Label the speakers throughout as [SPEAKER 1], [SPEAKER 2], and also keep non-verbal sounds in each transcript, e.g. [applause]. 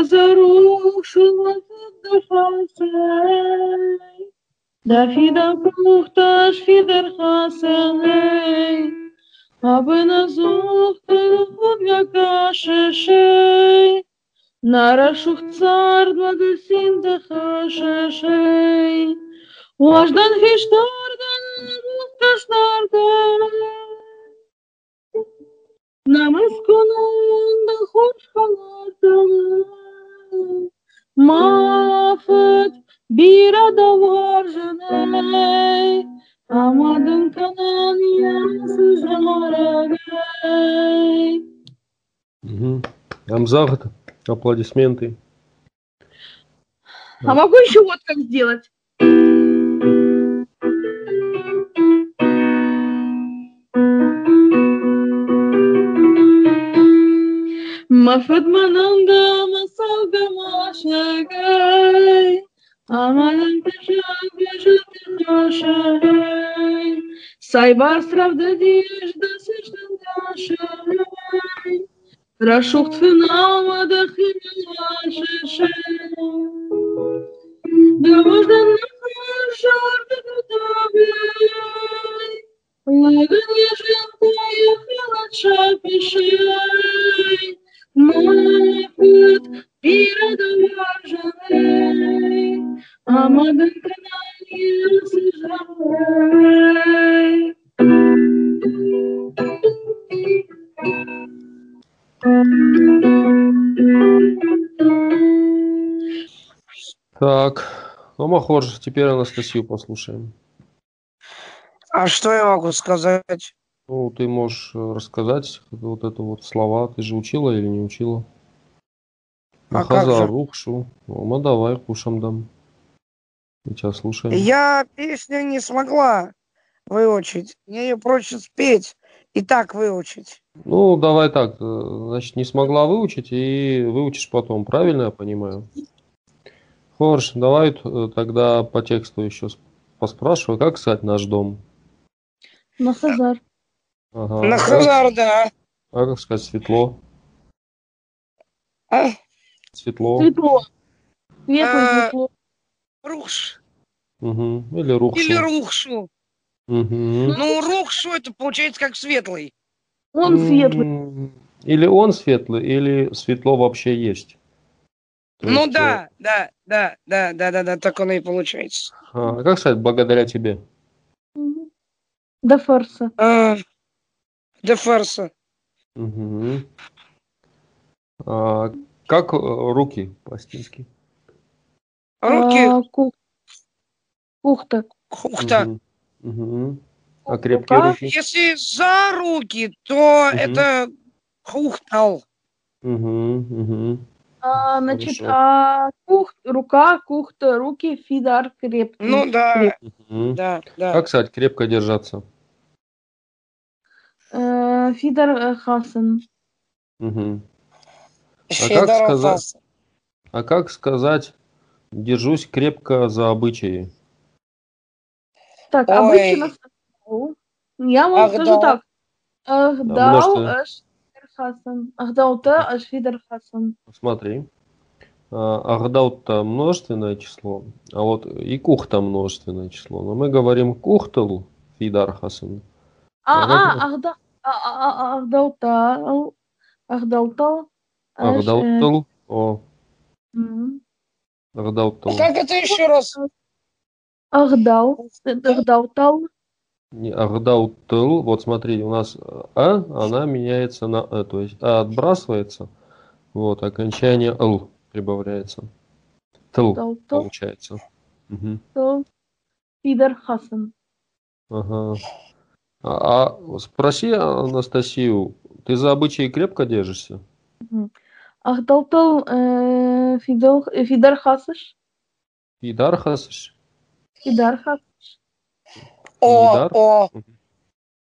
[SPEAKER 1] нахазарушын хасай дафидан кухташ фидер хасай абына зухтын худга кашишей нарашух цар длагусин дахашишей важдан хиштардан гухташнардан намаз кылганда хош калардым мафыт бир адавар жанай амадым канан ясыз арагай
[SPEAKER 2] Мгм. Амзахат, аплодисменты.
[SPEAKER 1] А могу еще вот как сделать? Мафат мананда масалга машагай, амалан тешаг лежит нашагай, сайбар сравда дежда сешдан дашагай, Рашухт финама да химилашеше. Да можно на шарты кутавей. Лаганье жентая хилача пишей. Мафет пирадовар жаней. Амадын каналье сыжамей.
[SPEAKER 2] Так, ну Махорж, теперь Анастасию послушаем.
[SPEAKER 3] А что я могу сказать?
[SPEAKER 2] Ну, ты можешь э, рассказать вот это вот слова. Ты же учила или не учила?
[SPEAKER 3] А как же?
[SPEAKER 2] рухшу. Ну, давай, кушам дам. Мы тебя слушаем.
[SPEAKER 3] Я песню не смогла выучить. Мне ее проще спеть и так выучить.
[SPEAKER 2] Ну, давай так. э, Значит, не смогла выучить и выучишь потом. Правильно я понимаю? Хорш, давай э, тогда по тексту еще с- поспрашиваю. Как сказать наш дом?
[SPEAKER 1] Нахазар.
[SPEAKER 2] Ага.
[SPEAKER 3] На хазар, да.
[SPEAKER 2] А как сказать светло?
[SPEAKER 3] А,
[SPEAKER 2] Светло.
[SPEAKER 1] Светло. Светло,
[SPEAKER 3] Э,
[SPEAKER 1] светло.
[SPEAKER 3] Рухш
[SPEAKER 2] Мгм. Или рухшу.
[SPEAKER 3] или рухшу.
[SPEAKER 2] Мгм.
[SPEAKER 3] Ну, рухшу это получается как светлый.
[SPEAKER 1] Он светлый.
[SPEAKER 2] М, Или он светлый, или светло вообще есть. То
[SPEAKER 3] Ну
[SPEAKER 2] есть, э,
[SPEAKER 3] да, да, да, да, да, да, да, так оно и получается.
[SPEAKER 2] а, как сказать благодаря тебе?
[SPEAKER 1] До фарса.
[SPEAKER 3] А, Де фарса.
[SPEAKER 2] Мгм. А, как э, руки по-астински?
[SPEAKER 3] Руки
[SPEAKER 1] А, ку- Кухта.
[SPEAKER 3] хухта.
[SPEAKER 2] Мгм. Мгм. А крепкие
[SPEAKER 1] Рука.
[SPEAKER 2] руки?
[SPEAKER 3] Если за руки, то
[SPEAKER 2] Мгм.
[SPEAKER 3] это хухтал.
[SPEAKER 2] Мгм, мгм.
[SPEAKER 1] А, значит,
[SPEAKER 2] Хорошо.
[SPEAKER 1] а, кух, рука, кухта, руки, фидар, крепкий.
[SPEAKER 3] Ну да,
[SPEAKER 2] Мгм. А
[SPEAKER 3] да, да.
[SPEAKER 2] Как сказать крепко держаться?
[SPEAKER 1] Э, фидар э, хасан.
[SPEAKER 2] Мгм.
[SPEAKER 3] Щедро
[SPEAKER 2] а как сказать?
[SPEAKER 3] фас.
[SPEAKER 2] А как сказать держусь крепко за обычаи?
[SPEAKER 1] Так,
[SPEAKER 3] Ой.
[SPEAKER 1] обычно... Я вам
[SPEAKER 3] Ахдау.
[SPEAKER 1] скажу так. э, Ахдау
[SPEAKER 2] множество.
[SPEAKER 1] аш фидар хасан. Ахдаута аш фидар хасан.
[SPEAKER 2] Смотри. А, Агдаут-то множественное число, а вот и кухта множественное число. Но мы говорим кухтал фидар хасан.
[SPEAKER 1] А,
[SPEAKER 2] Ага.
[SPEAKER 1] а, ахда, а, а, а, ахдаута. Ахдаута. аш, э,
[SPEAKER 2] Агдаутал. О,
[SPEAKER 1] м.
[SPEAKER 2] агдаутал.
[SPEAKER 3] А Как это еще раз?
[SPEAKER 1] Ахдау. Ахдаутал.
[SPEAKER 2] Не, агдаутал. Вот смотри, у нас а, она меняется на э, то есть а отбрасывается, вот, окончание л прибавляется. Тл
[SPEAKER 1] Ахдаута.
[SPEAKER 2] получается. Мгм.
[SPEAKER 1] то Пидор Хасан.
[SPEAKER 2] Ага. А, а спроси Анастасию, ты за обычаи крепко держишься?
[SPEAKER 1] Ахдалтал э, Фидол- э, Фидар Хасаш.
[SPEAKER 2] Фидар хасыш?
[SPEAKER 1] Фидар Хас.
[SPEAKER 3] О,
[SPEAKER 2] Нидар.
[SPEAKER 3] о.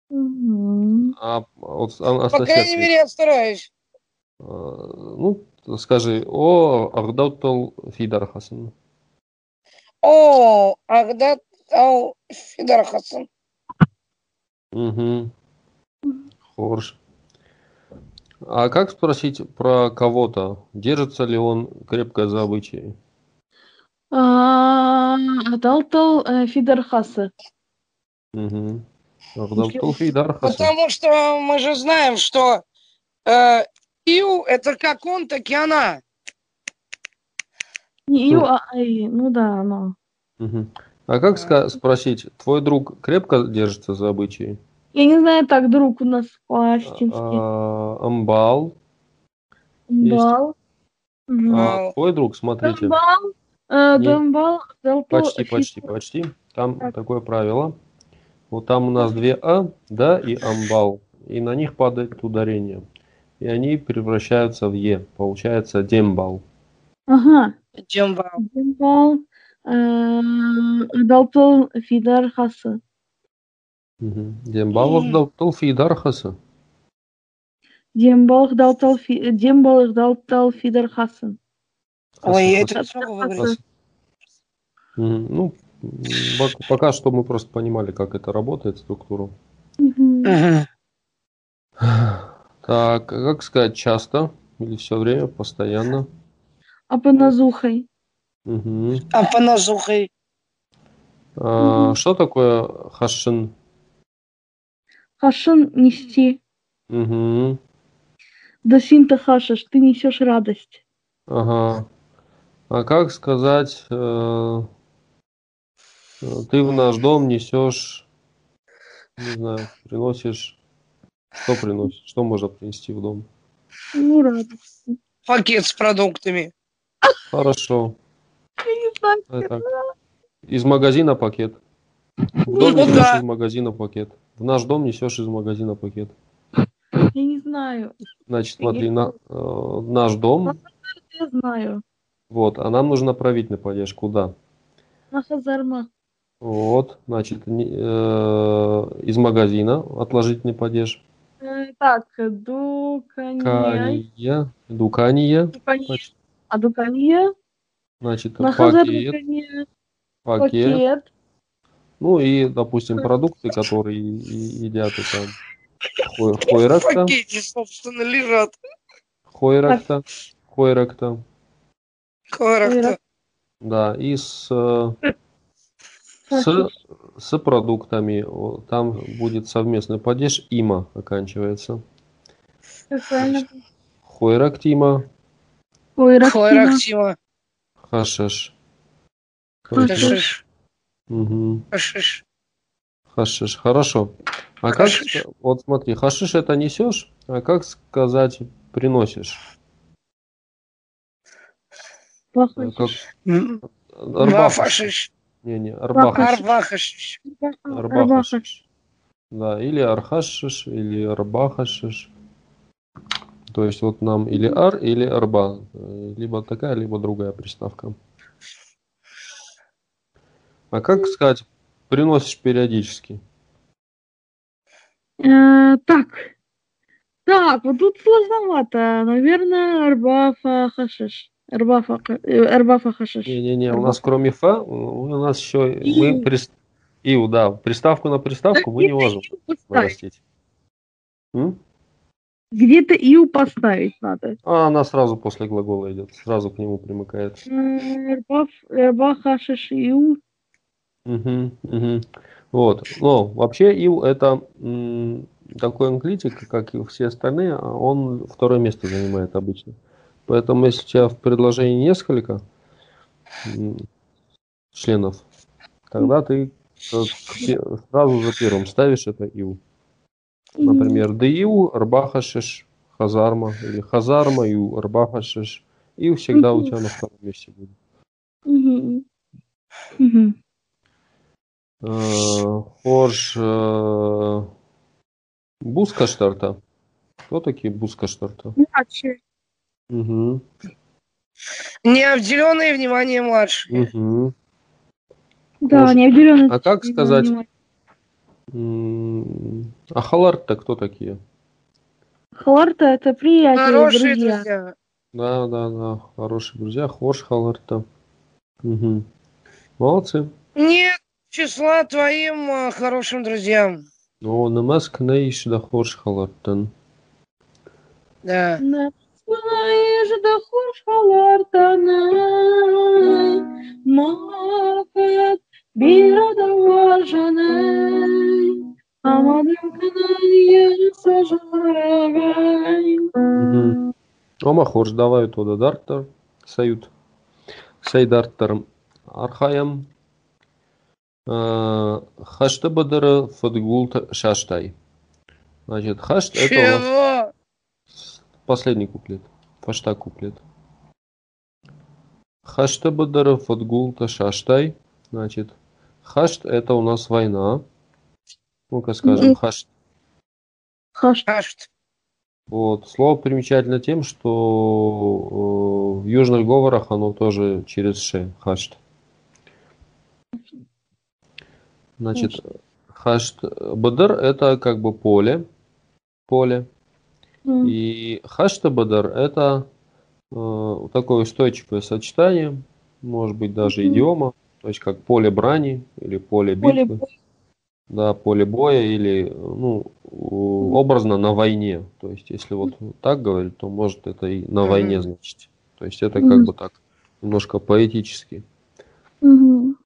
[SPEAKER 1] Мгм.
[SPEAKER 2] А вот
[SPEAKER 3] По
[SPEAKER 2] Анастасия,
[SPEAKER 3] крайней мере, я стараюсь.
[SPEAKER 2] ответь. А, ну, скажи, о, Ардаутал Фидар Хасан.
[SPEAKER 3] О, Агдат Ау Фидар Хасан.
[SPEAKER 2] Угу. Хорш. А как спросить про кого-то, держится ли он крепко за обычаи?
[SPEAKER 1] А, Ахдалтал Фидерхасы.
[SPEAKER 2] Мгм. Ардавтул Фейдархаса.
[SPEAKER 3] Потому что мы же знаем, что э, Ил это как он, так и она.
[SPEAKER 2] Хм.
[SPEAKER 1] Ию ай, ну да, оно.
[SPEAKER 2] Мгм. А как ска- спросить, твой друг крепко держится за обычаи?
[SPEAKER 1] Я не знаю, так друг у нас по-астински.
[SPEAKER 2] А, Амбал. есть.
[SPEAKER 1] Бал. Мгм.
[SPEAKER 2] А, твой друг, смотрите.
[SPEAKER 1] Дамбал. э,
[SPEAKER 2] Не.
[SPEAKER 1] Дамбал. Далто.
[SPEAKER 2] Почти,
[SPEAKER 1] фи-
[SPEAKER 2] почти, почти. Там
[SPEAKER 1] Ну, Так.
[SPEAKER 2] такое правило. Вот там у нас две А, да, и амбал. И на них падает ударение. И они превращаются в Е. Получается дембал.
[SPEAKER 1] Ага.
[SPEAKER 3] Джамбал.
[SPEAKER 1] Дамбал. э, Далто Фидархасы.
[SPEAKER 2] Угу. Дембал
[SPEAKER 3] Мгм.
[SPEAKER 2] Авдалтал Фидархаса.
[SPEAKER 1] Дембал Далто Фи- Дембал Далто Фидархасы.
[SPEAKER 3] Ой, я
[SPEAKER 2] Хаса,
[SPEAKER 3] это не смогу выговорить.
[SPEAKER 2] хаса. Мгм. Ну, м, пок- пока что мы просто понимали, как это работает, структуру.
[SPEAKER 1] Мгм.
[SPEAKER 2] Э.
[SPEAKER 3] Мгм.
[SPEAKER 2] Так, как сказать, часто или все время, постоянно?
[SPEAKER 1] А Апаназухой.
[SPEAKER 2] Мгм.
[SPEAKER 3] А по назухой.
[SPEAKER 2] А,
[SPEAKER 1] Мгм.
[SPEAKER 2] Что такое хашин?
[SPEAKER 1] Хашин нести.
[SPEAKER 2] Мгм.
[SPEAKER 1] Да син ты хашишь, ты несешь радость.
[SPEAKER 2] Ага. А как сказать, э, э, ты в наш дом несешь, не знаю, приносишь, что приносишь, что можно принести в дом?
[SPEAKER 1] Ну, радость.
[SPEAKER 3] Пакет с продуктами.
[SPEAKER 2] Хорошо.
[SPEAKER 1] Я не знаю.
[SPEAKER 2] Давай так. Из магазина пакет. В
[SPEAKER 1] Ну
[SPEAKER 2] дом
[SPEAKER 3] да.
[SPEAKER 2] несешь из магазина пакет. В наш дом несешь из магазина пакет.
[SPEAKER 1] Я не знаю.
[SPEAKER 2] Значит, смотри, на, э, наш дом,
[SPEAKER 1] Я знаю.
[SPEAKER 2] вот, а нам нужно правительный падеж. Куда?
[SPEAKER 1] На Хазарма.
[SPEAKER 2] Вот, значит, не- э, из магазина отложительный падеж.
[SPEAKER 1] Э, Так, дуканья.
[SPEAKER 2] Кания, дукания,
[SPEAKER 1] Дуканья. А дуканья?
[SPEAKER 2] значит,
[SPEAKER 1] На Хазар
[SPEAKER 2] пакет,
[SPEAKER 1] дуканья.
[SPEAKER 2] пакет,
[SPEAKER 1] Пакет.
[SPEAKER 2] ну и, допустим, продукты, которые и- едят это хой- хойракта,
[SPEAKER 3] В пакете, собственно, лежат.
[SPEAKER 2] хойракта, хойракта,
[SPEAKER 3] Характер.
[SPEAKER 2] да, и с, э, с,
[SPEAKER 1] Хашиш.
[SPEAKER 2] с продуктами, о, там будет совместный падеж, има оканчивается,
[SPEAKER 1] Как правильно?
[SPEAKER 2] хойрактима,
[SPEAKER 1] Ой, Рахина.
[SPEAKER 3] Характер.
[SPEAKER 2] хашеш.
[SPEAKER 1] Хашиш.
[SPEAKER 3] Кашиш.
[SPEAKER 2] Мгм.
[SPEAKER 3] Кашиш.
[SPEAKER 2] Хашиш, хорошо. А как,
[SPEAKER 3] Хашиш.
[SPEAKER 2] ска- вот смотри, хашиш это несешь, а как сказать приносишь? Э,
[SPEAKER 1] Плохой.
[SPEAKER 2] Как...
[SPEAKER 3] М,
[SPEAKER 2] Арбахашиш.
[SPEAKER 3] Вафашиш.
[SPEAKER 2] Не, не, арбахашиш.
[SPEAKER 3] Арбахашиш.
[SPEAKER 1] Арбаха.
[SPEAKER 2] Арбахашиш. Да, или архашиш, или арбахашиш. То есть вот нам или ар, или арба. Э, Либо такая, либо другая приставка. А как сказать, приносишь периодически?
[SPEAKER 1] Э, Так. Так, вот тут сложновато. Наверное, Арбафа Хашиш. Арбафа, Ка- э, Арбафа Хашиш.
[SPEAKER 2] Не-не-не, у нас кроме фа, у у нас еще
[SPEAKER 1] И.
[SPEAKER 2] мы прис- Ил, да, приставку на приставку мы не можем
[SPEAKER 1] Иу поставить.
[SPEAKER 2] вырастить. М?
[SPEAKER 1] Где-то Иу поставить надо.
[SPEAKER 2] А она сразу после глагола идет, сразу к нему примыкает.
[SPEAKER 1] Э, Арбаф- Арбаха Хашиш Иу.
[SPEAKER 2] Мгм, мгм. Вот. Но вообще Ил это м, такой англитик, как и все остальные, а он второе место занимает обычно. Поэтому если у тебя в предложении несколько м, членов, тогда ты э, к пе- сразу за первым ставишь это Ил. Например, Дию, Рбахашиш, Хазарма, или Хазарма, Ю, Рбахашиш. И всегда у
[SPEAKER 1] Мгм.
[SPEAKER 2] тебя на втором месте будет.
[SPEAKER 1] Мгм. Мгм.
[SPEAKER 2] Э, Хорж э, Бускаштарта. Кто такие Бускаштарта?
[SPEAKER 1] Младший.
[SPEAKER 2] Угу.
[SPEAKER 3] Не обделенные внимание младшие.
[SPEAKER 2] Угу.
[SPEAKER 1] Да,
[SPEAKER 2] Кожа.
[SPEAKER 1] неопределенность.
[SPEAKER 2] А как сказать?
[SPEAKER 1] Внимание.
[SPEAKER 2] А Халарта кто такие?
[SPEAKER 1] Хлорта это приятели,
[SPEAKER 3] Хорошие
[SPEAKER 1] друзья.
[SPEAKER 3] друзья.
[SPEAKER 2] Да, да, да. Хорошие друзья. Хорж Халарта. Угу. Молодцы.
[SPEAKER 3] Нет числа твоим э, а, хорошим друзьям.
[SPEAKER 2] Но намаз кнейш да хорш халаттан.
[SPEAKER 3] Да.
[SPEAKER 1] Знаешь, да хуш халартанай, мафаят бирада важанай, амадым канайя сажарагай.
[SPEAKER 2] Мгм. Ома хорш давай тода дарттар. Сают. Сай дарттарым. Архаям. Э, Хашты бадыры футгул шаштай. Значит, хашт это у нас
[SPEAKER 3] Чего?
[SPEAKER 2] Последний куплет. Фашта куплет. Хашта бадара фатгулта шаштай. Значит, хашт это у нас война. Ну-ка скажем,
[SPEAKER 1] Мгм.
[SPEAKER 2] хашт.
[SPEAKER 1] Хаш,
[SPEAKER 3] А что?
[SPEAKER 2] Вот. Слово примечательно тем, что э, в южных говорах оно тоже через ше, хашт. Значит, хашт бадар это как бы поле. Поле.
[SPEAKER 1] м,
[SPEAKER 2] И хаштабадар – это э, такое устойчивое сочетание, может быть, даже
[SPEAKER 1] Мгм.
[SPEAKER 2] идиома, то есть как поле брани или поле
[SPEAKER 1] поле
[SPEAKER 2] битвы,
[SPEAKER 1] боя.
[SPEAKER 2] да, поле боя или, ну, у- образно на войне. То есть, если вот так говорить, то может это и на
[SPEAKER 3] Мгм.
[SPEAKER 2] войне значить. То есть, это
[SPEAKER 1] Мгм.
[SPEAKER 2] как бы так, немножко поэтически.
[SPEAKER 1] Мгм.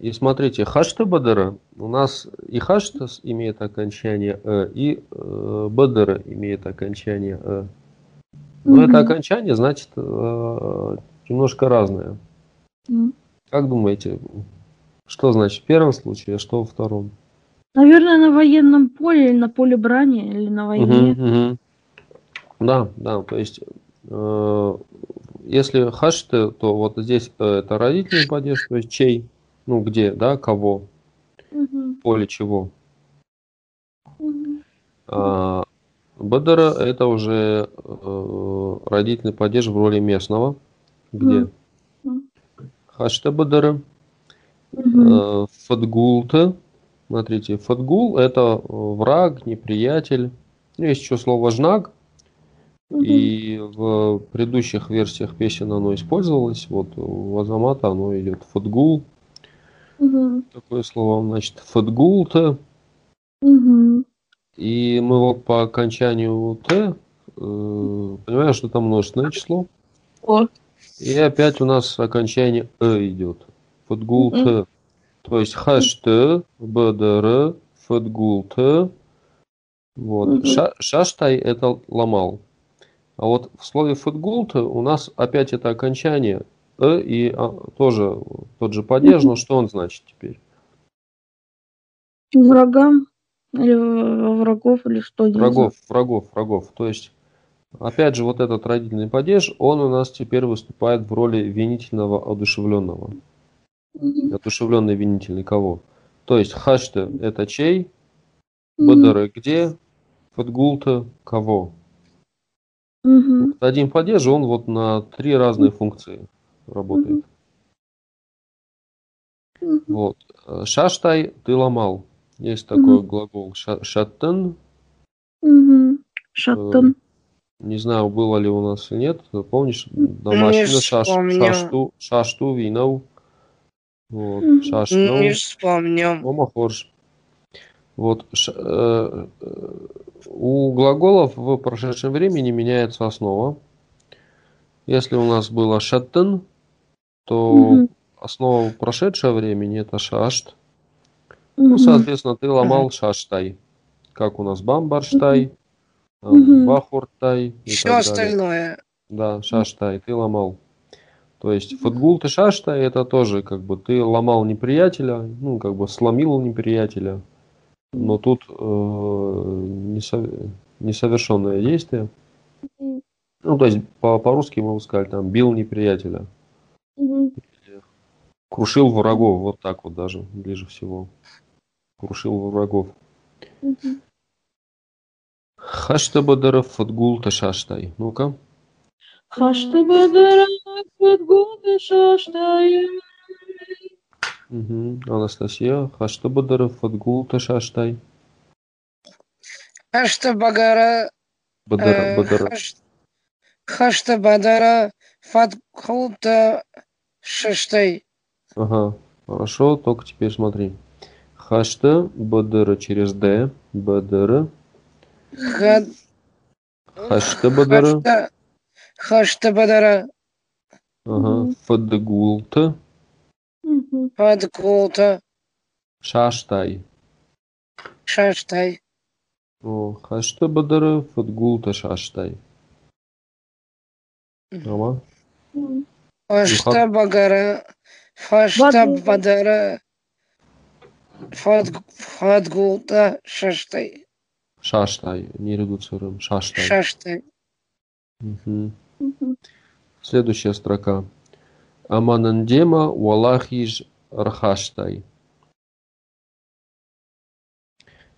[SPEAKER 2] И смотрите, хашта бадара у нас и хашта с- имеет окончание э, и э, бадара имеет окончание э. Но Ну, это
[SPEAKER 1] Мгм.
[SPEAKER 2] окончание значит э, немножко разное.
[SPEAKER 1] М.
[SPEAKER 2] Как думаете, что значит в первом случае, а что во втором?
[SPEAKER 1] Наверное, на военном поле или на поле брани, или на войне.
[SPEAKER 2] Мгм, мгм. Да, да, то есть э, если хашты, то вот здесь э, это родительный падеж, то есть чей, ну где, да, кого,
[SPEAKER 1] Мгм.
[SPEAKER 2] поле чего.
[SPEAKER 1] Мгм.
[SPEAKER 2] А Бадера это уже э, родительный падеж в роли местного, где
[SPEAKER 1] Мгм.
[SPEAKER 2] хашта Бадера,
[SPEAKER 1] Мгм.
[SPEAKER 2] э, Фатгулта. Смотрите, Фатгул это э, враг, неприятель. Ну, Есть еще слово жнаг, и в предыдущих версиях песен оно использовалось. Вот у Азамата оно идет Фатгул.
[SPEAKER 1] Мгм.
[SPEAKER 2] Такое слово, значит, Фатгулта.
[SPEAKER 1] Мгм.
[SPEAKER 2] И мы вот по окончанию Т, э, понимаешь, что там множественное число.
[SPEAKER 1] О.
[SPEAKER 2] И опять у нас окончание «э» идет. Футгул «т». То есть «хаш т», «бдр», «футгул т». Вот.
[SPEAKER 1] Мгм.
[SPEAKER 2] Ша- «Шаштай» — это «ломал». А вот в слове «футгул т» у нас опять это окончание «э» и а, тоже тот же падеж, но что он значит теперь?
[SPEAKER 1] Врагам или во врагов или что? я Ну, не
[SPEAKER 2] Врагов, врагов, врагов. То есть, опять же, вот этот родительный падеж, он у нас теперь выступает в роли винительного одушевленного.
[SPEAKER 1] знаю.
[SPEAKER 2] Одушевленный винительный кого? То есть хашта это чей,
[SPEAKER 1] Мгм.
[SPEAKER 2] бадара где, фатгулта кого.
[SPEAKER 1] Мгм.
[SPEAKER 2] Один падеж, он вот на три разные функции работает.
[SPEAKER 1] Мгм.
[SPEAKER 2] Вот. Э, Шаштай ты ломал. Есть такой
[SPEAKER 1] Мгм.
[SPEAKER 2] глагол ша- шаттен.
[SPEAKER 1] Мгм. Шаттон.
[SPEAKER 2] Не знаю, было ли у нас или нет. Помнишь, домашний
[SPEAKER 3] Не
[SPEAKER 2] шаш,
[SPEAKER 3] вспомню.
[SPEAKER 2] шашту, шашту винов. Вот,
[SPEAKER 1] Мгм.
[SPEAKER 2] шашнул.
[SPEAKER 3] Не вспомню.
[SPEAKER 2] Ома хорж. Вот ш- э, э, у глаголов в прошедшем времени меняется основа. Если у нас было шаттен, то
[SPEAKER 1] Мгм.
[SPEAKER 2] основа прошедшего времени это шашт. Ну,
[SPEAKER 1] Мгм.
[SPEAKER 2] соответственно, ты ломал шаштай. Как у нас бамбарштай, там,
[SPEAKER 1] Мгм.
[SPEAKER 2] бахуртай и
[SPEAKER 3] Все
[SPEAKER 2] так далее.
[SPEAKER 3] остальное.
[SPEAKER 2] Да, шаштай, ты ломал. То есть футгул ты шаштай, это тоже как бы ты ломал неприятеля, ну как бы сломил неприятеля. Но тут э, несо- несовершенное действие.
[SPEAKER 1] Мгм.
[SPEAKER 2] Ну то есть по- по-русски мы бы сказали там бил неприятеля,
[SPEAKER 1] Мгм.
[SPEAKER 2] крушил врагов, вот так вот даже ближе всего. Крушил врагов.
[SPEAKER 1] Мгм.
[SPEAKER 2] Хаштабадаров футгул ты шаштай. Ну-ка.
[SPEAKER 1] Хашты бадара футгулда шаштая.
[SPEAKER 2] Мгм. Анастасия. а Хаштабадаров футгул ты шаштай.
[SPEAKER 3] А что Багара...
[SPEAKER 2] Бадара,
[SPEAKER 3] э,
[SPEAKER 2] бадара.
[SPEAKER 3] хаш- Хашта Бадара Фатхута Шиштай.
[SPEAKER 2] Ага, хорошо, только теперь смотри. Хашта, БДР через Д, БДР,
[SPEAKER 3] Ха-
[SPEAKER 2] Хашта БДР,
[SPEAKER 3] Хашта- Хашта бадара
[SPEAKER 2] ага, Фадгулта,
[SPEAKER 1] Мгм.
[SPEAKER 3] подколта
[SPEAKER 2] Шаштай.
[SPEAKER 3] шаштай.
[SPEAKER 2] О, хашта бадара, футгулта шаштай. Ама,
[SPEAKER 1] Мгм.
[SPEAKER 3] Фашта багара фашта
[SPEAKER 1] Бадара.
[SPEAKER 3] бадара фат- фатгулта шаштай
[SPEAKER 2] шаштай, не редуцируем, шаштай.
[SPEAKER 3] шаштай.
[SPEAKER 2] Мгм.
[SPEAKER 1] Мгм.
[SPEAKER 2] Следующая строка. Аманандема валахиж рхаштай.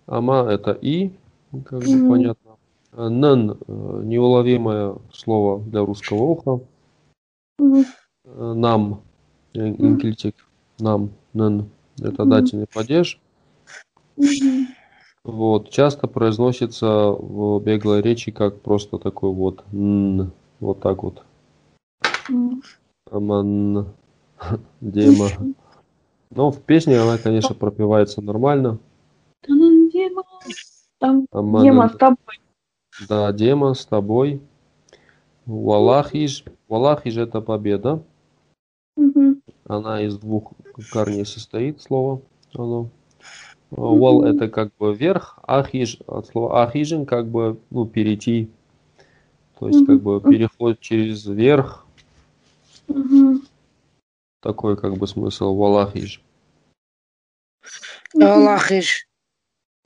[SPEAKER 2] Ама это и, как бы
[SPEAKER 1] Мгм.
[SPEAKER 2] понятно. А Нан э, неуловимое слово для русского уха.
[SPEAKER 1] Мгм.
[SPEAKER 2] Э, Нам, э,
[SPEAKER 1] Мгм.
[SPEAKER 2] инклитик, нам, нан. Это
[SPEAKER 1] Мгм.
[SPEAKER 2] дательный падеж.
[SPEAKER 1] Мгм.
[SPEAKER 2] Вот, часто произносится в беглой речи как просто такой вот «н», вот так вот.
[SPEAKER 1] Мгм.
[SPEAKER 2] Аман, Дема. Но Ну, в песне она, конечно, пропивается нормально.
[SPEAKER 1] Ну, Дима, Там
[SPEAKER 2] Аман,
[SPEAKER 1] Дима с тобой.
[SPEAKER 2] да, Дема, с тобой. Валахиш. Валахиш – это победа.
[SPEAKER 1] Мгм.
[SPEAKER 2] Она из двух корней состоит, слово. Оно. Вал – это как бы вверх, ахиж от слова ахижин как бы ну, перейти. То есть как бы переход через верх,
[SPEAKER 1] Мгм.
[SPEAKER 2] такой как бы смысл валахиш.
[SPEAKER 3] Аллахиш.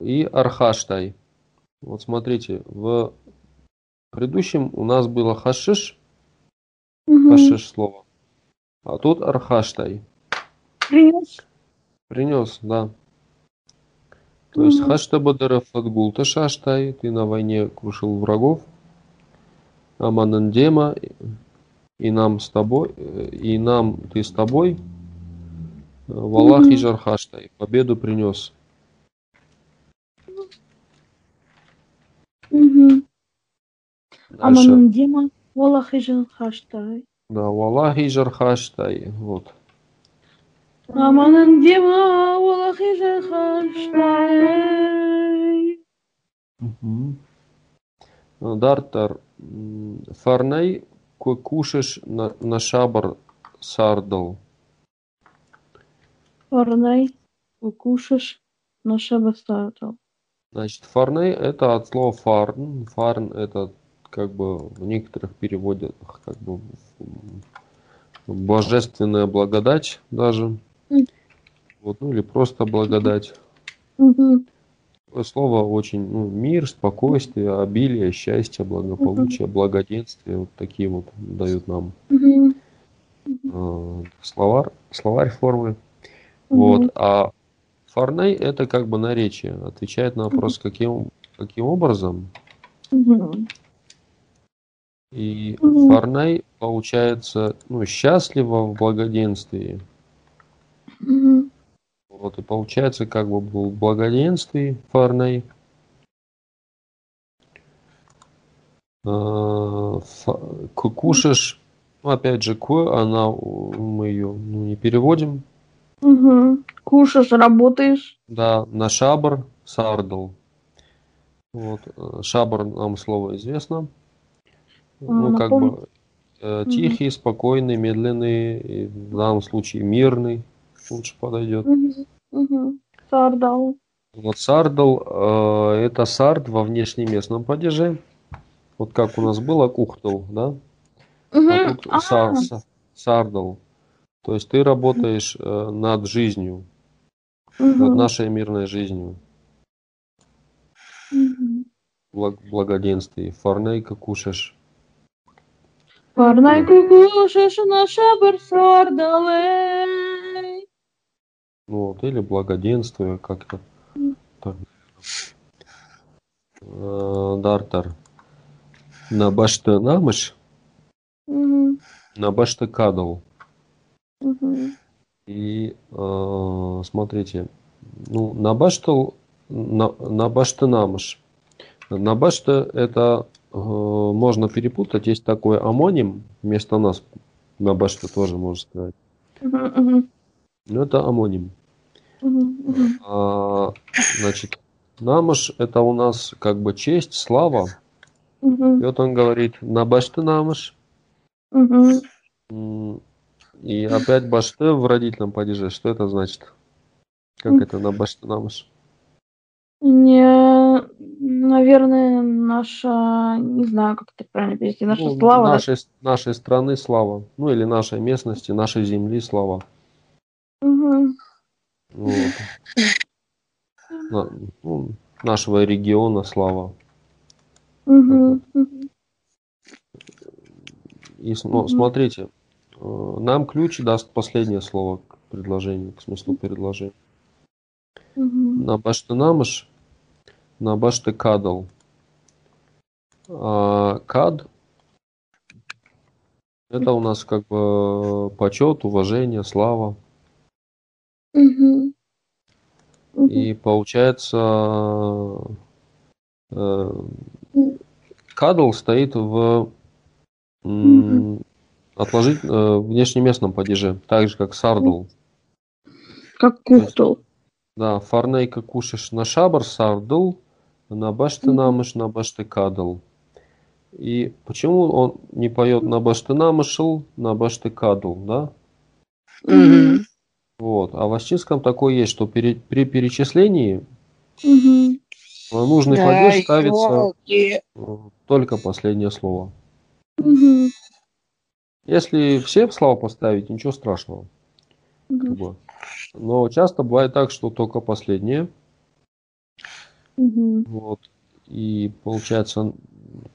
[SPEAKER 2] И архаштай. Вот смотрите, в предыдущем у нас было хашиш,
[SPEAKER 1] Мгм.
[SPEAKER 2] хашиш слово, а тут архаштай.
[SPEAKER 1] Принес.
[SPEAKER 2] Принес, да. То есть
[SPEAKER 1] Мгм.
[SPEAKER 2] хашта бадаров отгулта шаштай, ты на войне крушил врагов. Аманандема, и нам с тобой, э, и нам ты с тобой. Э, Валах и
[SPEAKER 1] Мгм.
[SPEAKER 2] жархаштай, победу принес.
[SPEAKER 1] Мгм.
[SPEAKER 2] Дальше.
[SPEAKER 1] Аман Дима, Волах и Женхаштай.
[SPEAKER 2] Да, Валах и жархаштай, вот.
[SPEAKER 1] Аман Дима, Волах и Женхаштай.
[SPEAKER 2] Дартар, Ну м, фарней ко- кушаш на, на шабар сардал.
[SPEAKER 1] Парнай, укушаш, наша бастарда.
[SPEAKER 2] Значит, фарней это от слова фарн. Фарн это как бы в некоторых переводах как бы м, божественная благодать даже.
[SPEAKER 1] Мгм.
[SPEAKER 2] Вот, ну или просто благодать.
[SPEAKER 1] Мгм.
[SPEAKER 2] Такое Слово очень ну, мир, спокойствие, обилие, счастье, благополучие, благоденствие. Вот такие вот дают нам
[SPEAKER 1] Мгм.
[SPEAKER 2] э, словар, словарь формы. Вот. А фарней это как бы наречие. Отвечает на вопрос, каким, каким образом.
[SPEAKER 1] Мгм.
[SPEAKER 2] И
[SPEAKER 1] Мгм.
[SPEAKER 2] Фарнай получается ну, счастливо в благоденствии.
[SPEAKER 1] Мгм.
[SPEAKER 2] Вот, и получается как бы был в благоденствии Фарнай. А, фа- ку- Кушаш, ну, опять же, ку, она, у- мы ее ну, не переводим.
[SPEAKER 1] Мгм. Кушаешь, работаешь.
[SPEAKER 2] Да, на шабр, сардл. Вот, э, шабр нам слово известно. Ну,
[SPEAKER 1] А,
[SPEAKER 2] как
[SPEAKER 1] напомни-
[SPEAKER 2] бы э,
[SPEAKER 1] Мгм.
[SPEAKER 2] тихий, спокойный, медленный, и в данном случае мирный лучше подойдет.
[SPEAKER 1] Мгм. Мгм. Сардал.
[SPEAKER 2] Вот сардл, э, это сард во внешнеместном падеже. Вот как у нас было кухтл, да? А
[SPEAKER 1] Мгм.
[SPEAKER 2] тут
[SPEAKER 1] А,
[SPEAKER 2] сар- са- сардл. То есть ты работаешь э, над жизнью, над
[SPEAKER 1] мгм.
[SPEAKER 2] нашей мирной жизнью.
[SPEAKER 1] Мгм.
[SPEAKER 2] Благ- благоденствие. Фарнейка кушаешь.
[SPEAKER 1] Парнай кукушеш, наша барсардалей.
[SPEAKER 2] Ну вот, или благоденствие как-то. Так. Э, Дартар. На башта намыш,
[SPEAKER 1] Мгм.
[SPEAKER 2] на башта кадал.
[SPEAKER 1] Мгм.
[SPEAKER 2] И э, смотрите, ну, на баштал, на, на башта намыш. На башта это э, можно перепутать, есть такой амоним, вместо нас на башта тоже можно сказать.
[SPEAKER 1] Мгм. Мгм.
[SPEAKER 2] Но это амоним.
[SPEAKER 1] Мгм.
[SPEAKER 2] А, значит, намыш – это у нас как бы честь, слава. И
[SPEAKER 1] Мгм.
[SPEAKER 2] вот он говорит, на башты намыш.
[SPEAKER 1] Мгм.
[SPEAKER 2] М, И опять башты в родительном падеже. Что это значит? Как это на башты намыш?
[SPEAKER 1] Не, наверное, наша, не знаю, как это правильно перевести, наша
[SPEAKER 2] Ну,
[SPEAKER 1] слава. да?
[SPEAKER 2] Нашей, нашей страны слава. Ну или нашей местности, нашей земли слава.
[SPEAKER 1] Мгм.
[SPEAKER 2] Вот. На- ну, нашего региона слава.
[SPEAKER 1] Мгм. Мгм.
[SPEAKER 2] И с- ну,
[SPEAKER 1] Мгм.
[SPEAKER 2] смотрите, э, нам ключ даст последнее слово к предложению, к смыслу предложения.
[SPEAKER 1] Мгм.
[SPEAKER 2] На башты намыш, на башты кадал. А кад это у нас как бы почет, уважение, слава.
[SPEAKER 1] Мгм. Мгм.
[SPEAKER 2] И получается э, кадл стоит в м, отложить э, внешнеместном падеже, так же как сардл.
[SPEAKER 1] Как кухтал.
[SPEAKER 2] Да, фарнейка кушаешь на шабар сардл, на башты намыш, на башты кадл. И почему он не поет на башты намышл, на башты кадл, да?
[SPEAKER 1] Мгм.
[SPEAKER 2] Вот. А в астинском такое есть, что пере- при перечислении
[SPEAKER 1] Мгм.
[SPEAKER 2] на нужный
[SPEAKER 3] Да,
[SPEAKER 2] падеж Ну ставится
[SPEAKER 3] ёлки.
[SPEAKER 2] э, только последнее слово.
[SPEAKER 1] Мгм.
[SPEAKER 2] Если все слова поставить, ничего страшного. как
[SPEAKER 1] Мгм.
[SPEAKER 2] бы. Но часто бывает так, что только последнее.
[SPEAKER 1] Мгм.
[SPEAKER 2] Вот. И получается,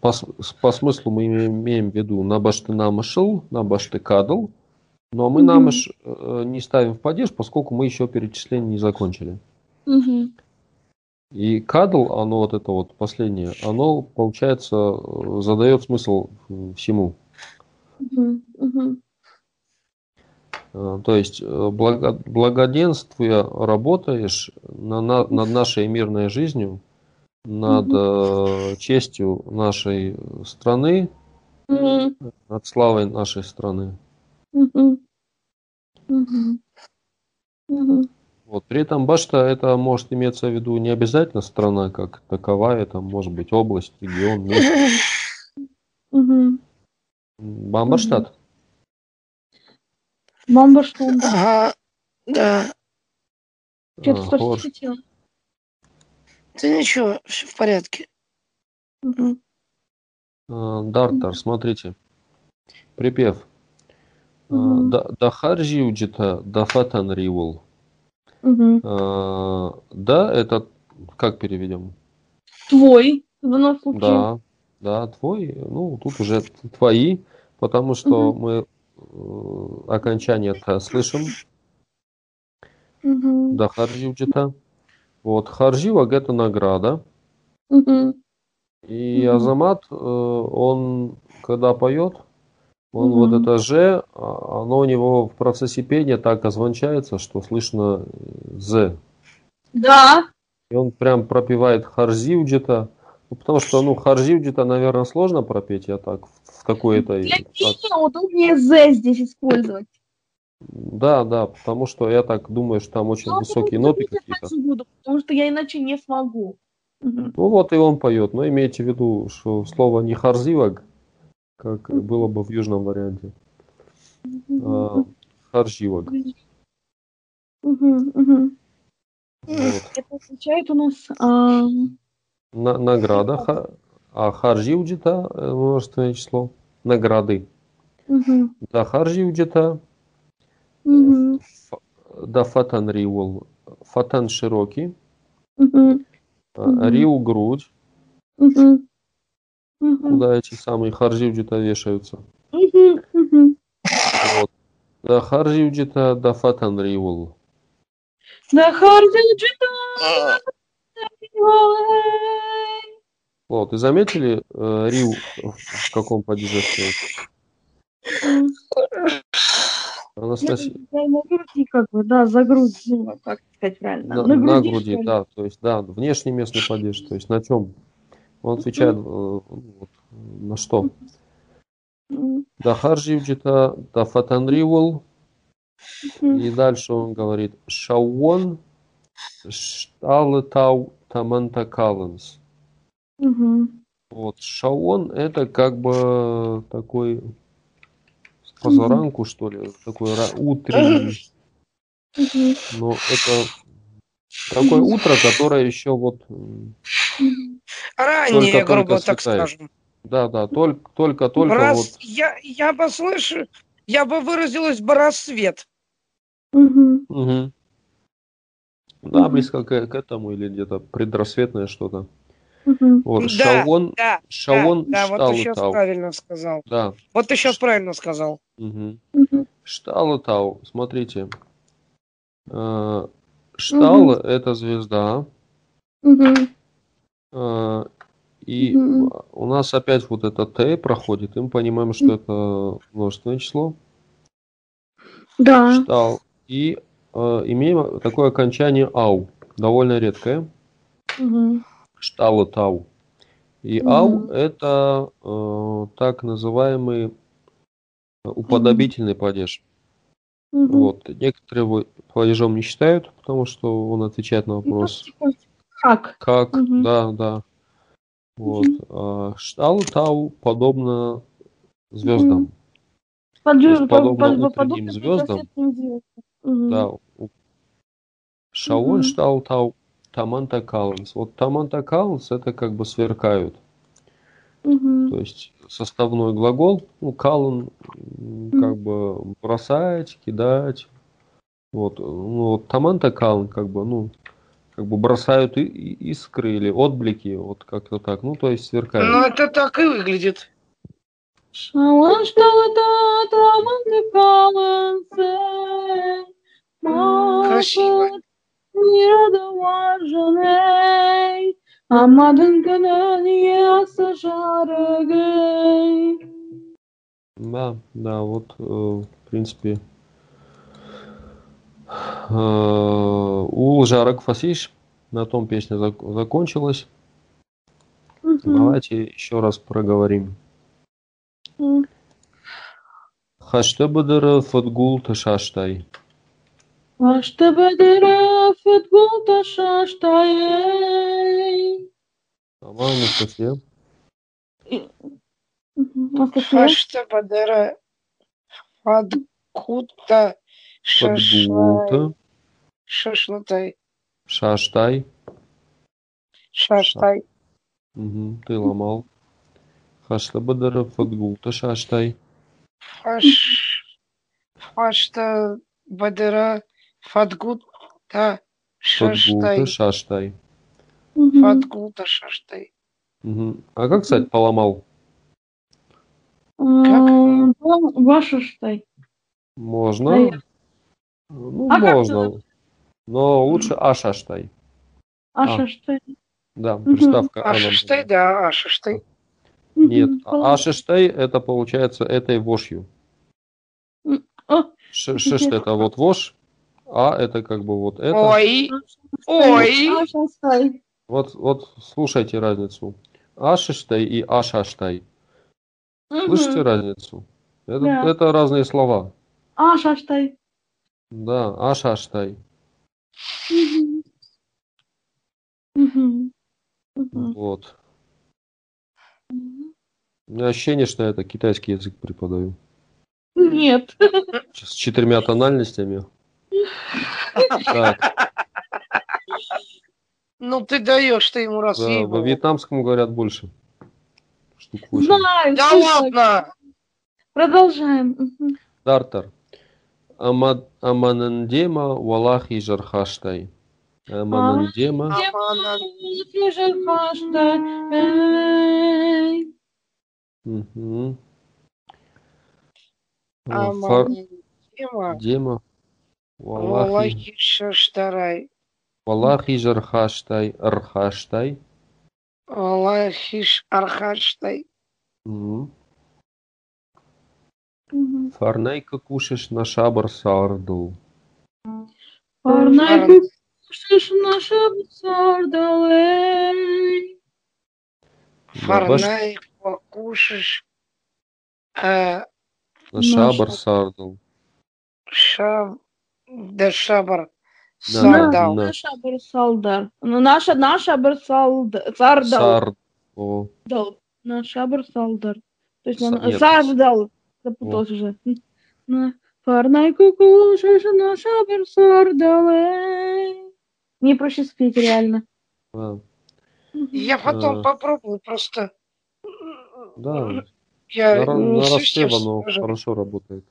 [SPEAKER 2] по, с- по смыслу мы имеем, имеем в виду на башты намышел, на башты кадл. Но мы
[SPEAKER 1] Мгм.
[SPEAKER 2] намыш э, не ставим в падеж, поскольку мы еще перечисление не закончили.
[SPEAKER 1] Мгм.
[SPEAKER 2] И кадл, оно вот это вот последнее, оно, получается, э, задает смысл э, всему.
[SPEAKER 1] Мгм. Мгм.
[SPEAKER 2] Э, То есть э, благо, благоденствуя работаешь на, на- над нашей мирной жизнью, над э, честью нашей страны,
[SPEAKER 1] Мгм.
[SPEAKER 2] над славой нашей страны.
[SPEAKER 1] Мгм. Мгм. Мгм.
[SPEAKER 2] Вот. При этом башта это может иметься в виду не обязательно страна как таковая, это может быть область, регион, ну, место.
[SPEAKER 1] Мгм.
[SPEAKER 2] Бамбарштадт.
[SPEAKER 1] Мамба что он
[SPEAKER 3] Ага, да.
[SPEAKER 1] Что-то
[SPEAKER 2] А,
[SPEAKER 1] что
[SPEAKER 2] Хор-
[SPEAKER 1] хотела.
[SPEAKER 3] Ты ничего, все в порядке.
[SPEAKER 1] Мгм.
[SPEAKER 2] А, Дартар, смотрите. Припев. А,
[SPEAKER 1] Мгм.
[SPEAKER 2] да- Дахар жиуджита, дафатан ривул.
[SPEAKER 1] Мгм.
[SPEAKER 2] А, Да, это как переведем?
[SPEAKER 1] Твой в нас случае.
[SPEAKER 2] Да, да, твой. Ну, тут уже т- твои, потому что
[SPEAKER 1] Мгм.
[SPEAKER 2] мы э, окончание-то слышим.
[SPEAKER 1] Мгм.
[SPEAKER 2] Да, харджи уджита. Вот, харджива это награда.
[SPEAKER 1] Мгм.
[SPEAKER 2] И
[SPEAKER 1] Мгм.
[SPEAKER 2] Азамат, э, он, когда поет, он
[SPEAKER 1] Мгм.
[SPEAKER 2] вот это же, а, оно у него в процессе пения так озвончается, что слышно э, з.
[SPEAKER 1] Да.
[SPEAKER 2] И он прям пропевает Харзивджита. Ну, потому что, ну, Харзивджита, наверное, сложно пропеть, я так, в какой-то...
[SPEAKER 1] Для меня удобнее Z здесь использовать.
[SPEAKER 2] Да, да, потому что я так думаю, что там очень
[SPEAKER 1] Но
[SPEAKER 2] высокие
[SPEAKER 1] потом
[SPEAKER 2] ноты
[SPEAKER 1] я
[SPEAKER 2] какие-то.
[SPEAKER 1] так буду, потому что я иначе не смогу. Мгм.
[SPEAKER 2] Ну вот и он поет, но имейте в виду, что слово не харзивак, как было бы в южном варианте, а харзивак.
[SPEAKER 1] Мгм. Мгм.
[SPEAKER 2] Ну Вот.
[SPEAKER 1] Это означает у нас... а, ам,
[SPEAKER 2] На- награда, ха- а харзивджита, э, множественное число, награды.
[SPEAKER 1] мгм.
[SPEAKER 2] Да, харзивджита,
[SPEAKER 1] Мгм.
[SPEAKER 2] да, фатан риул, фатан широкий,
[SPEAKER 1] Мгм.
[SPEAKER 2] А,
[SPEAKER 1] Мгм.
[SPEAKER 2] Риу грудь,
[SPEAKER 1] Мгм. Мгм.
[SPEAKER 2] куда эти самые харзивджита вешаются.
[SPEAKER 1] Мгм. Мгм.
[SPEAKER 2] Вот. Да харзивджита да фатан риул.
[SPEAKER 1] Да, Харди, Джита,
[SPEAKER 2] Вот, и заметили э, Риу в каком падеже стоит? Анастасия.
[SPEAKER 1] Да, на груди как бы, да, за грудь, ну, как сказать правильно.
[SPEAKER 2] На, на груди, да, то есть, да, внешний местный падеж, то есть на чем? Он отвечает э, ну, вот, на что? Да харзивджита да фатан риул. И дальше он говорит шауон Шталетау Таманта Калланс.
[SPEAKER 1] Угу.
[SPEAKER 2] Вот, шаон это как бы такой с позаранку, что ли, такой ра- утренний,
[SPEAKER 1] Угу.
[SPEAKER 2] но это такое утро, которое еще вот, м,
[SPEAKER 3] Ранее,
[SPEAKER 2] Только-только
[SPEAKER 3] грубо так
[SPEAKER 2] светает.
[SPEAKER 3] скажем.
[SPEAKER 2] да-да, только, только, только
[SPEAKER 3] Брас-
[SPEAKER 2] вот,
[SPEAKER 3] я, я бы слышу, я бы выразилась бы рассвет.
[SPEAKER 1] Угу.
[SPEAKER 2] Мгм. да,
[SPEAKER 1] Мгм.
[SPEAKER 2] близко к, к этому или где-то предрассветное что-то.
[SPEAKER 1] Угу.
[SPEAKER 2] Вот,
[SPEAKER 3] Да,
[SPEAKER 2] шаон,
[SPEAKER 3] Да,
[SPEAKER 2] шаон
[SPEAKER 3] да, да, вот ты сейчас
[SPEAKER 2] Шталетау.
[SPEAKER 3] правильно сказал.
[SPEAKER 2] Да,
[SPEAKER 3] Вот ты сейчас правильно сказал.
[SPEAKER 2] мгм.
[SPEAKER 1] Угу.
[SPEAKER 2] Штала Тау, смотрите. Э, Штала это звезда.
[SPEAKER 1] Угу.
[SPEAKER 2] э, И
[SPEAKER 1] Мгм.
[SPEAKER 2] у нас опять вот это Т проходит, и мы понимаем, что это множественное число.
[SPEAKER 3] А.
[SPEAKER 1] Да.
[SPEAKER 2] Штал. И э, имеем такое окончание ау, довольно редкое.
[SPEAKER 1] Угу.
[SPEAKER 2] Штала Тау. И
[SPEAKER 1] Мгм.
[SPEAKER 2] ау это э, так называемый э, уподобительный падеж.
[SPEAKER 1] Угу.
[SPEAKER 2] Вот. Некоторые его падежом не считают, потому что он отвечает на вопрос,
[SPEAKER 1] типа Как?
[SPEAKER 2] Как,
[SPEAKER 1] Ну, Мгм.
[SPEAKER 2] да, да. Вот.
[SPEAKER 1] Мгм.
[SPEAKER 2] а, Штал Тау подобно звездам.
[SPEAKER 1] Подъем-
[SPEAKER 2] есть
[SPEAKER 1] по-
[SPEAKER 2] подобно
[SPEAKER 1] по-
[SPEAKER 2] утренним
[SPEAKER 1] подобно
[SPEAKER 2] звездам.
[SPEAKER 1] предрассветным звездам. Мгм.
[SPEAKER 2] Да. у- Шаон
[SPEAKER 1] Мгм.
[SPEAKER 2] Штал Тау Таманта Калланс. Вот Таманта Калланс это как бы сверкают.
[SPEAKER 1] Мгм.
[SPEAKER 2] То есть составной глагол, ну, Каллан м,
[SPEAKER 1] Мгм.
[SPEAKER 2] как бы бросать, кидать. Вот, ну, вот Таманта Каллан как бы, ну, как бы бросают и- и- искры или отблики, вот как-то так. Ну, то есть сверкают.
[SPEAKER 3] Ну, это так и выглядит.
[SPEAKER 1] Шалан шталата траманты калансе.
[SPEAKER 3] Красиво.
[SPEAKER 1] Масат мирада важаней. а Амадын кынания сажарыгай.
[SPEAKER 2] Да, да, вот, э, в принципе, э, у Жарок Фасиш на том песня зак- закончилась.
[SPEAKER 1] Мгм.
[SPEAKER 2] Давайте еще раз проговорим.
[SPEAKER 1] Мгм.
[SPEAKER 2] Хаштабадара фатгул ташаштай.
[SPEAKER 1] Ашты бедері футбол ташаштай.
[SPEAKER 2] По-моему, София.
[SPEAKER 1] Мгм. А как я?
[SPEAKER 3] Хашта бадера фадкута шашла-
[SPEAKER 2] Фатгулта
[SPEAKER 3] шашлатай.
[SPEAKER 2] шаштай.
[SPEAKER 3] Шаштай.
[SPEAKER 2] Мгм, ты ломал. Хаштабадара фатгул ташаштай.
[SPEAKER 3] Фаш... Фашта бадера фадгута
[SPEAKER 2] Фатгул
[SPEAKER 3] шаштай.
[SPEAKER 2] ташаштай.
[SPEAKER 1] Мгм.
[SPEAKER 3] Фадгута шаштай.
[SPEAKER 2] Мгм. А как, кстати, поломал?
[SPEAKER 1] Ам, ва- А, Ваша штай.
[SPEAKER 2] Можно.
[SPEAKER 1] Наверное.
[SPEAKER 2] Ну,
[SPEAKER 1] А как
[SPEAKER 2] можно. Но лучше Ашаштай.
[SPEAKER 1] Аша
[SPEAKER 2] А.
[SPEAKER 1] штай.
[SPEAKER 2] Да, приставка «а» нам
[SPEAKER 3] Ашаштай,
[SPEAKER 2] нужна.
[SPEAKER 3] да, ашаштай.
[SPEAKER 1] Мгм.
[SPEAKER 2] Нет, а,
[SPEAKER 1] Пола-
[SPEAKER 2] Ашаштай это получается этой вошью.
[SPEAKER 1] О,
[SPEAKER 2] Ш- Шишт это вот вож, а это как бы вот это.
[SPEAKER 3] Ой,
[SPEAKER 1] Ой.
[SPEAKER 3] ой.
[SPEAKER 2] Вот, вот слушайте разницу. Ашиштай и Ашаштай. Слышите разницу? Это,
[SPEAKER 1] Да.
[SPEAKER 2] это разные слова.
[SPEAKER 1] Аша штай.
[SPEAKER 2] Да, Ашаштай.
[SPEAKER 1] Мгм. Мгм. Мгм.
[SPEAKER 2] Вот. У меня ощущение, что я это китайский язык преподаю.
[SPEAKER 1] Нет.
[SPEAKER 2] С четырьмя
[SPEAKER 1] [laughs]
[SPEAKER 2] тональностями. Так.
[SPEAKER 3] Ну ты даешь ты ему раз,
[SPEAKER 2] Да, во
[SPEAKER 3] ей-богу.
[SPEAKER 2] вьетнамском говорят больше. Штук восемь.
[SPEAKER 1] Знаю.
[SPEAKER 3] Да
[SPEAKER 1] слушай.
[SPEAKER 3] ладно!
[SPEAKER 1] Продолжаем. Мгм.
[SPEAKER 2] Тартар. Амад- Аманандема Валахи Жархаштай.
[SPEAKER 1] А.
[SPEAKER 2] Аманандема.
[SPEAKER 3] Амана.
[SPEAKER 1] Ты же Машта, э, эй.
[SPEAKER 2] Мгм. А, Фар-
[SPEAKER 3] Амана. Тема.
[SPEAKER 2] Дема. Валахи.
[SPEAKER 3] Валахи шаштарай.
[SPEAKER 2] Валахи Жархаштай. Рхаштай.
[SPEAKER 3] Валахи ш- архаштай.
[SPEAKER 2] Мгм.
[SPEAKER 1] Мгм.
[SPEAKER 2] Фарнайка кушаешь на шабар сарду.
[SPEAKER 1] Парнай, ты слышишь наша бусарда, эй.
[SPEAKER 3] Фарнай покушаешь. э,
[SPEAKER 2] На
[SPEAKER 1] на Ну,
[SPEAKER 2] шабар
[SPEAKER 1] шаб-
[SPEAKER 2] сарду.
[SPEAKER 3] Шаб... Да шабар.
[SPEAKER 2] Да,
[SPEAKER 3] Сардал.
[SPEAKER 2] да.
[SPEAKER 1] Наша Абрсалдар. Ну, наша, наша Абрсалдар. Сардал.
[SPEAKER 2] Сардал.
[SPEAKER 1] Дал. Наш Абрсалдар. То есть
[SPEAKER 2] Са-
[SPEAKER 1] он
[SPEAKER 2] нет.
[SPEAKER 1] Сардал. Запутался уже. На парной кукушешь наш Абрсардал. эй. Не проще спеть, реально.
[SPEAKER 2] Да.
[SPEAKER 3] Я
[SPEAKER 2] Э.
[SPEAKER 3] потом попробую просто.
[SPEAKER 2] да.
[SPEAKER 3] Я
[SPEAKER 2] На, ра-
[SPEAKER 3] Э, не
[SPEAKER 2] на
[SPEAKER 3] совсем
[SPEAKER 2] распев оно
[SPEAKER 3] скажу.
[SPEAKER 2] хорошо работает.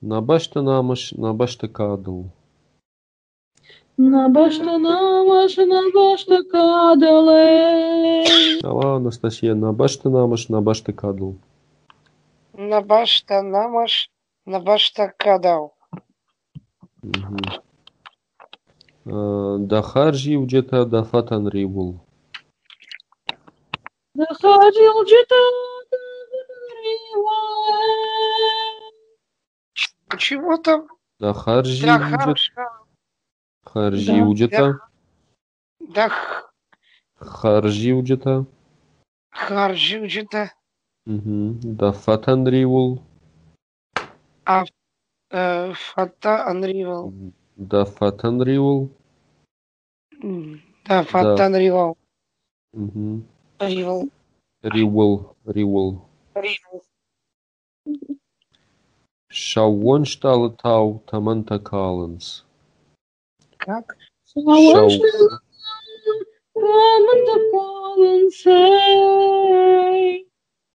[SPEAKER 2] На баште намыш, на баште кадл.
[SPEAKER 1] На башта, на башта, на башта кадал. эй.
[SPEAKER 2] Алла А, Анастасия, на баште намыш, на баште кадл.
[SPEAKER 3] На башта намаш, на башта кадал.
[SPEAKER 2] Мгм. Э, Дахаржи уджета дафатан рибул.
[SPEAKER 1] Заходил читать. эй.
[SPEAKER 3] А Чего там?
[SPEAKER 2] Дахаржи
[SPEAKER 3] Да
[SPEAKER 2] уджета.
[SPEAKER 3] хорошо.
[SPEAKER 2] Харжи
[SPEAKER 1] Да.
[SPEAKER 2] уджета.
[SPEAKER 3] Да х-
[SPEAKER 2] Харжи уджета.
[SPEAKER 3] харжу где-то.
[SPEAKER 2] Мгм. Дафатан рибул.
[SPEAKER 3] э, Фата Анривал.
[SPEAKER 2] Дафатан рибул.
[SPEAKER 3] М, Да, Фата Анривал.
[SPEAKER 2] Мгм.
[SPEAKER 3] Ривал.
[SPEAKER 2] Рибул. Рибул.
[SPEAKER 3] Ривал.
[SPEAKER 2] Шауон шталтау таманта каланс.
[SPEAKER 3] Как?
[SPEAKER 1] Шау. Роман Коллинсей.